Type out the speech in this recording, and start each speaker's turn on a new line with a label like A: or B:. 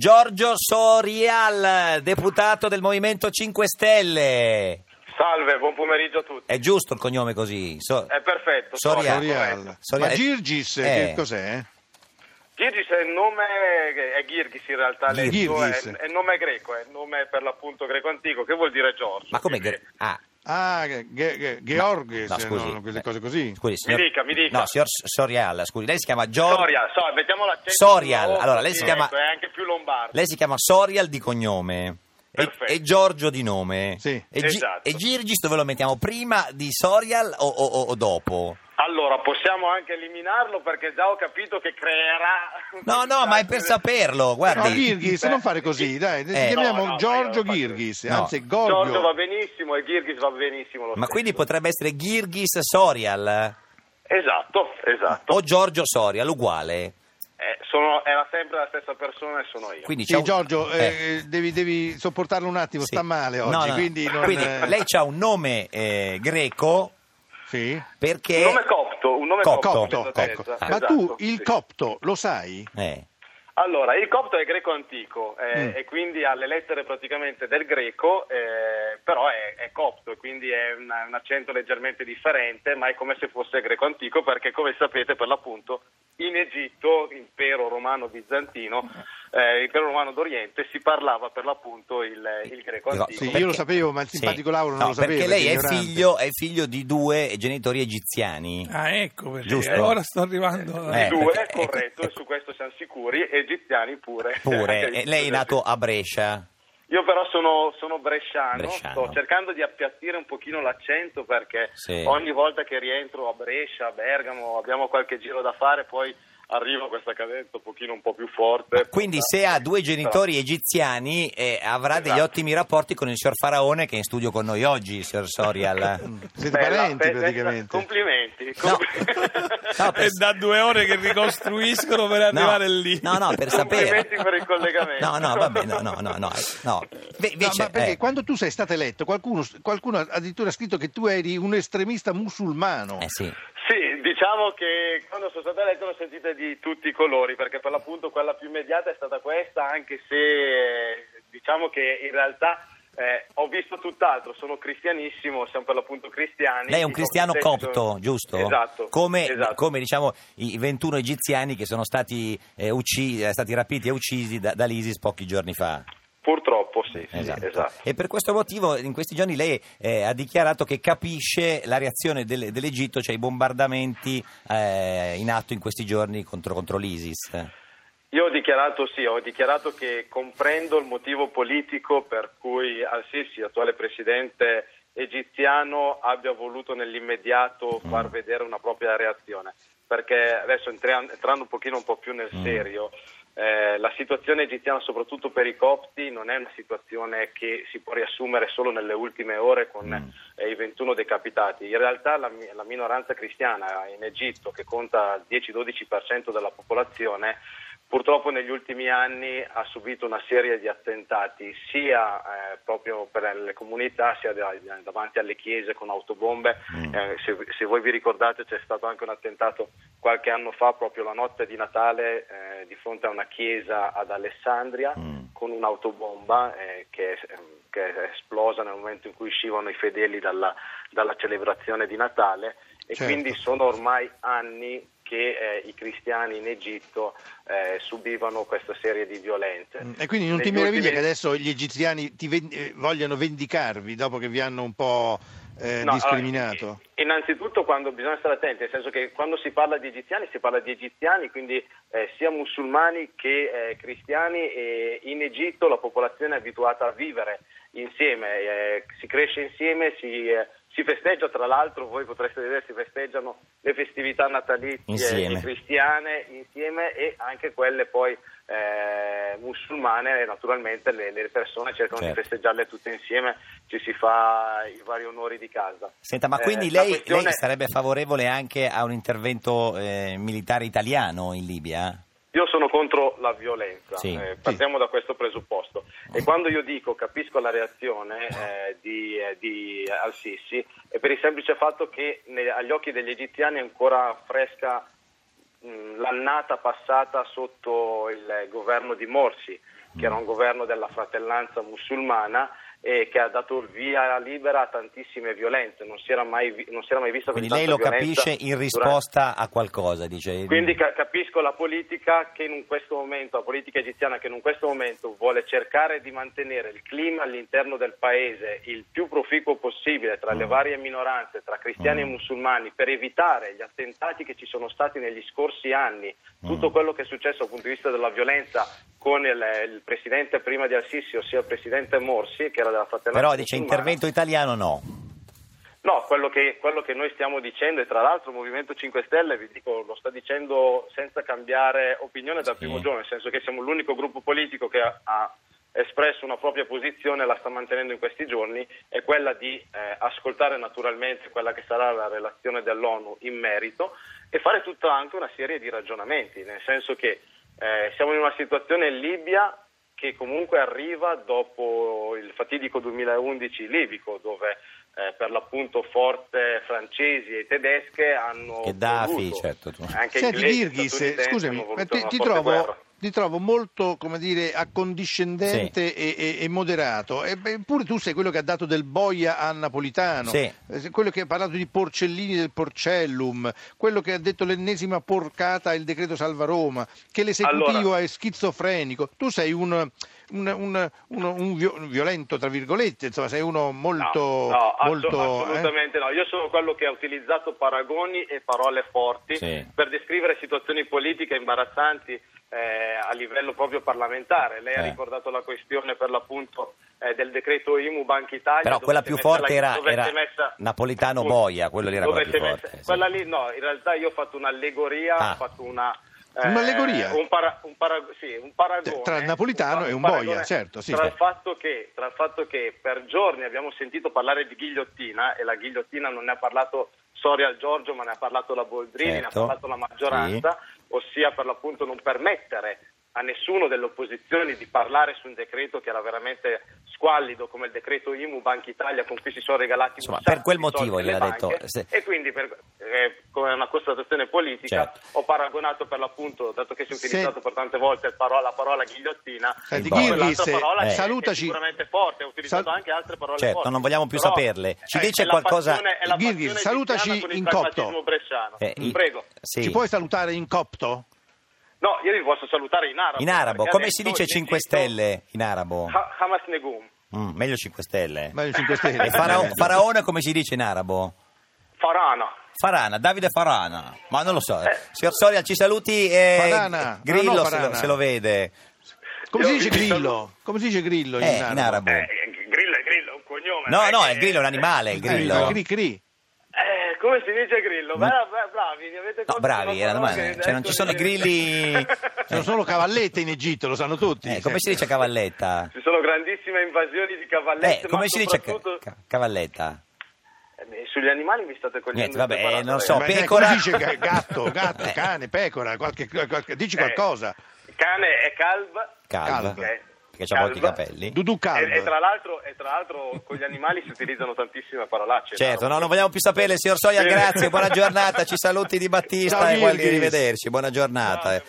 A: Giorgio Sorial, deputato del Movimento 5 Stelle.
B: Salve, buon pomeriggio a tutti.
A: È giusto il cognome così? So-
B: È perfetto.
A: Soria.
B: Soria,
A: Soria.
B: corretto.
A: Sorial. Sorial.
C: eh. Ma Girgis,
A: Eh.
C: che cos'è?
B: Girgis è il nome, è Girgis in realtà, lei-
C: Girgis.
B: È, è il nome greco, è il nome per l'appunto greco antico, che vuol dire Giorgio.
A: Ma come...
B: Quindi-
A: gre- Ah,
C: Ah, Ge- Ge- Ge- Georgis,
A: no, scusi. Eh,
C: no, quelle cose così.
A: scusi, signor-
B: dica, mi dica.
A: No, signor S- Sorial, scusi, lei si chiama Giorgio...
B: Soria, so, mettiamo l'accento.
A: Sorial,
B: sulla O,
A: allora, lei
B: sì,
A: si chiama-
B: ecco, è anche più lombardo.
A: Lei si chiama Sorial di cognome. E,
B: Perfetto.
A: e Giorgio di nome.
C: Sì.
A: E, Gi-
B: Esatto.
A: e Girgis dove lo mettiamo? Prima di Sorial o, o- o- o dopo?
B: Allora, possiamo anche eliminarlo perché già ho capito che creerà...
A: No, no, ma è per
B: Esatto.
A: saperlo,
C: No,
A: guardi.
C: Girgis, non fare così, dai, ti
A: Eh.
C: chiamiamo
B: eh, No, no,
C: Giorgio
B: io non faccio-
C: Girgis,
A: No.
C: anzi Gorgio.
B: Giorgio va benissimo e Girgis va benissimo lo
A: Ma
B: stesso.
A: quindi potrebbe essere Girgis Sorial
B: Esatto, esatto.
A: o Giorgio Sorial, uguale.
B: Eh, sono, era sempre la stessa persona e sono io.
A: Quindi
C: Sì,
A: c'ha un-
C: Giorgio,
A: eh,
C: eh, devi, devi sopportarlo un attimo,
A: sì.
C: sta male
A: No,
C: oggi,
A: no, no.
C: quindi... Non,
A: Quindi
C: eh,
A: lei ha un nome eh, greco
C: Sì?
A: perché...
B: Un nome copto, un nome copto.
A: Copto, Ah.
B: per
C: Copto, ecco.
B: esattezza.
C: Ma
B: Esatto,
C: tu il
B: sì.
C: copto lo sai?
A: Eh,
B: Allora, il copto è greco antico eh,
C: Mm.
B: e quindi ha le lettere praticamente del greco, eh, però è, è copto e quindi è una- un accento leggermente differente, ma è come se fosse greco antico perché, come sapete, per l'appunto, in Egitto, impero romano bizantino, eh, impero romano d'Oriente, si parlava per l'appunto il, il greco
A: Dico,
B: antico.
C: Sì, io lo sapevo, ma il simpatico Lauro non
A: No,
C: lo sapeva,
A: Perché lei è
C: ignorante.
A: figlio, è figlio di due genitori egiziani.
D: Ah, ecco perché
A: Giusto.
D: ora sto arrivando.
A: Eh,
B: I due,
A: perché- eh, ecco.
B: corretto, e su questo siamo sicuri, egiziani pure.
A: Pure,
B: Anche
A: e lei è nato a Brescia.
B: Io però sono, sono bresciano,
A: Bresciano.
B: sto cercando di appiattire un pochino l'accento perché
A: Sì.
B: ogni volta che rientro a Brescia, a Bergamo, abbiamo qualche giro da fare, poi arrivo a questa cadenza un pochino un po' più forte.
A: Quindi se ha due genitori egiziani eh, avrà degli
B: Esatto.
A: ottimi rapporti con il signor Faraone che è in studio con noi oggi, signor Sorial.
C: Mm, Siete
B: Bella,
C: parenti
B: bella,
C: praticamente.
B: Complimenti.
A: No.
B: complimenti.
A: No,
D: È
A: per-
D: da due ore che ricostruiscono per
A: No,
D: arrivare lì.
A: No, no, per sapere.
B: Complimenti per il collegamento.
A: No, no, vabbè, no, no, no, no. no. Ve-
C: No,
A: invece,
C: ma perché
A: eh,
C: quando tu sei stato eletto, qualcuno, qualcuno addirittura ha scritto che tu eri un estremista musulmano.
A: eh, sì.
B: Sì, diciamo che quando sono stata eletta ne ho sentite di tutti i colori, perché per l'appunto quella più immediata è stata questa, anche se eh, diciamo che in realtà eh, ho visto tutt'altro, sono cristianissimo, siamo per l'appunto cristiani.
A: Lei è un cristiano
B: I copti
A: copto,
B: sono-
A: giusto?
B: Esatto.
A: Come,
B: esatto.
A: come, diciamo i 21 egiziani che sono stati, eh, uccisi, eh, stati rapiti e uccisi da- dall'ISIS pochi giorni fa.
B: Purtroppo sì, sì,
A: Esatto.
B: esatto.
A: E per questo motivo in questi giorni lei eh, ha dichiarato che capisce la reazione del- dell'Egitto, cioè i bombardamenti eh, in atto in questi giorni contro, contro l'ISIS.
B: Io ho dichiarato sì, ho dichiarato che comprendo il motivo politico per cui Al-Sisi, attuale presidente egiziano, abbia voluto nell'immediato far vedere una propria reazione. Perché adesso entriam- entrando un pochino un po' più nel serio, eh, la situazione egiziana, soprattutto per i copti, non è una situazione che si può riassumere solo nelle ultime ore con
A: Mm.
B: eh, i 21 decapitati. In realtà la, mi- la minoranza cristiana in Egitto, che conta il 10-12% della popolazione, purtroppo negli ultimi anni ha subito una serie di attentati sia eh, proprio per le comunità sia da- davanti alle chiese con autobombe Eh, se, se voi vi ricordate c'è stato anche un attentato qualche anno fa proprio la notte di Natale eh, di fronte a una chiesa ad Alessandria
C: Mm.
B: con un'autobomba eh, che, è, che è esplosa nel momento in cui uscivano i fedeli dalla, dalla celebrazione di Natale e
C: Certo.
B: quindi sono ormai anni che eh, i cristiani in Egitto eh, subivano questa serie di violenze.
C: Mm, E quindi non ti
B: Cioè, Negli
C: meraviglia
B: ultimi-
C: che adesso gli egiziani ti ven- eh, vogliano vendicarvi dopo che vi hanno un po' eh,
B: No,
C: discriminato?
B: allora, eh, innanzitutto quando bisogna stare attenti, nel senso che quando si parla di egiziani si parla di egiziani, quindi eh, sia musulmani che eh, cristiani e in Egitto la popolazione è abituata a vivere insieme, eh, si cresce insieme, si, eh, si festeggia tra l'altro, voi potreste vedere si festeggiano le festività natalizie
A: Insieme.
B: e cristiane insieme e anche quelle poi eh, musulmane, e naturalmente le, le persone cercano di
A: Certo.
B: festeggiarle tutte insieme, ci si fa i vari onori di casa.
A: Senta, ma
B: Eh,
A: quindi
B: la
A: lei,
B: questione-
A: lei sarebbe favorevole anche a un intervento eh, militare italiano in Libia?
B: Io sono contro la violenza,
A: Sì.
B: eh, partiamo da questo presupposto. E quando io dico capisco la reazione eh, di, eh, di Al-Sisi, è per il semplice fatto che ne- agli occhi degli egiziani è ancora fresca mh, l'annata passata sotto il governo di Morsi. che era un
A: Mm.
B: governo della fratellanza musulmana e che ha dato il via libera a tantissime violenze, non si era mai, vi- non si era mai vista
A: Quindi
B: così
A: lei lo
B: tanta violenza
A: capisce in
B: durante-
A: risposta a qualcosa, dice.
B: quindi ca- capisco la politica che in questo momento, la politica egiziana che in questo momento vuole cercare di mantenere il clima all'interno del paese il più proficuo possibile tra
A: Mm.
B: le varie minoranze, tra cristiani e musulmani, per evitare gli attentati che ci sono stati negli scorsi anni,
A: Mm.
B: tutto quello che è successo dal punto di vista della violenza con il, il presidente prima di Al-Sisi, ossia il presidente Morsi, che era della fratellanza.
A: Però dice
B: musulmana.
A: intervento italiano no.
B: No, quello che, quello che noi stiamo dicendo, e tra l'altro il Movimento 5 Stelle, vi dico, lo sta dicendo senza cambiare opinione dal
A: Sì.
B: primo giorno, nel senso che siamo l'unico gruppo politico che ha, ha espresso una propria posizione, la sta mantenendo in questi giorni, è quella di eh, ascoltare naturalmente quella che sarà la relazione dell'ONU in merito e fare tutta anche una serie di ragionamenti, nel senso che eh, siamo in una situazione in Libia che comunque arriva dopo il fatidico 2011 libico, dove eh, per l'appunto forze francesi e tedesche hanno
A: Gheddafi,
B: voluto,
A: certo, tu-
B: anche
C: Senti
B: inglesi,
C: Virghis,
B: statunitensi
C: scusami,
B: hanno voluto
C: ma ti,
B: una
C: ti
B: forte
C: trovo,
B: guerra.
C: ti trovo molto come dire, accondiscendente e, e- e moderato. E beh, Eppure tu sei quello che ha dato del boia a Napolitano,
A: Sì.
C: eh, sei quello che ha parlato di porcellini del porcellum, quello che ha detto l'ennesima porcata il decreto Salva Roma, che l'esecutivo
B: Allora.
C: è schizofrenico. Tu sei un, un- un- uno- un vio- un violento, tra virgolette, insomma, sei uno molto...
B: No, no, asso-
C: molto, eh?
B: assolutamente no. Io sono quello che ha utilizzato paragoni e parole forti
A: Sì.
B: per descrivere situazioni politiche imbarazzanti eh, a livello proprio parlamentare. Lei ha
A: Eh.
B: ricordato la questione per l'appunto eh, del decreto IMU Banca Italia.
A: Però
B: dove
A: quella
B: si è
A: più
B: messa
A: forte
B: la-
A: era-
B: dove si è
A: era
B: messa-
A: Napolitano-Boia, quello lì era
B: dove
A: quella
B: si
A: più
B: è messa-
A: forte, sì.
B: Quella lì no, in realtà io ho fatto un'allegoria,
A: Ah.
B: ho fatto una... eh,
C: Un'allegoria?
B: un, para- un para- sì, un paragone
C: Tra il napolitano
B: pa-
C: e un
B: paragone
C: boia, certo, sì.
B: tra il fatto che, tra il fatto che per giorni abbiamo sentito parlare di ghigliottina e la ghigliottina non ne ha parlato Soria Giorgio ma ne ha parlato la Boldrini, ne ha
A: Certo.
B: parlato la maggioranza, ossia per l'appunto non permettere a nessuno delle opposizioni di parlare su un decreto che era veramente squallido come il decreto IMU Banca Italia con cui si sono regalati
A: Insomma,
B: un sacco
A: per quel
B: di soldi
A: motivo
B: alle
A: gliel'ha detto,
B: banche.
A: se-
B: e quindi per, eh, come una constatazione politica
A: Certo.
B: ho paragonato per l'appunto dato che si è
C: Se-
B: utilizzato per tante volte il parola- la parola ghigliottina
C: Senti,
A: Boia.
C: Virghis,
B: Quell'altra parola che-
C: eh,
B: che è
C: salutaci.
B: sicuramente forte, ha utilizzato
C: Sal-
B: anche altre parole
A: Certo,
B: forti.
A: non vogliamo più
B: Però
A: saperle. Ci
B: è-
A: dice
B: è la
A: qualcosa-
B: passione- è la
C: Virgil,
B: passione
C: salutaci
B: egiziana con il
C: in copto.
B: pragmatismo bresciano.
A: Eh, i-
B: Prego.
A: sì.
C: Ci puoi salutare in copto?
B: No, io vi posso salutare in arabo.
A: In arabo,
B: perché Ah.
A: come
B: adesso
A: si dice
B: in
A: 5
B: Egitto-
A: Stelle in arabo?
B: Ha- Hamas Negum.
A: Mm, meglio 5 Stelle.
C: Ma eh, il 5 Stelle.
A: E farao- Faraona come si dice in arabo?
B: Farana.
A: Farana, Davide Farana, ma non lo so.
B: Eh.
A: Signor Soria, ci saluti e
C: Farana,
A: Grillo
C: no, no,
A: se lo-
C: Farana.
A: se lo vede.
C: Come si
B: Io
C: dice
B: vi saluto.
C: grillo? Come si dice grillo
A: Eh, in arabo.
B: Eh, grillo è grillo, è un cognome.
A: No,
B: eh,
A: no,
B: che-
A: il grillo è un animale, il grillo.
C: Eh, Cri cri.
B: Eh, come si dice grillo? Bra- bra- bravi, mi avete
A: Mm. No,
B: colto
A: bravi,
B: una
A: era
B: parola
A: domanda.
B: che
A: Cioè, non ci
B: adesso
A: sono i
B: mi-
A: grilli.
C: Sono solo cavallette in Egitto, lo sanno tutti.
A: Eh, come si dice cavalletta?
B: Ci sono grandissime invasioni di
A: Eh,
B: cavallette,
A: come
B: ma
A: si dice ca-
B: soprattutto-
A: ca- cavalletta?
B: Eh, Sugli animali mi state cogliendo.
A: Niente, vabbè,
B: impreparato,
A: non
B: ragazzi.
A: so,
C: Eh, Ma dai,
A: pecora.
C: Come si dice g- gatto, gatto,
A: Eh.
C: cane, pecora, qualche- qualche- dici
B: Eh,
C: qualcosa.
B: Cane è calv.
A: Calva.
C: Calva.
B: Eh,
A: Perché c'ha molti
B: calva.
A: capelli.
C: Dudu calvo.
B: E, e Eh, tra l'altro, e tra l'altro con gli animali si utilizzano tantissime parolacce.
A: Certo,
B: no?
A: no, non vogliamo più sapere, signor Soia,
B: Sì.
A: grazie, buona giornata, ci saluti di
C: Ciao,
A: Battista e vuol dire
C: Virgis.
A: rivederci, buona giornata.
B: Ciao.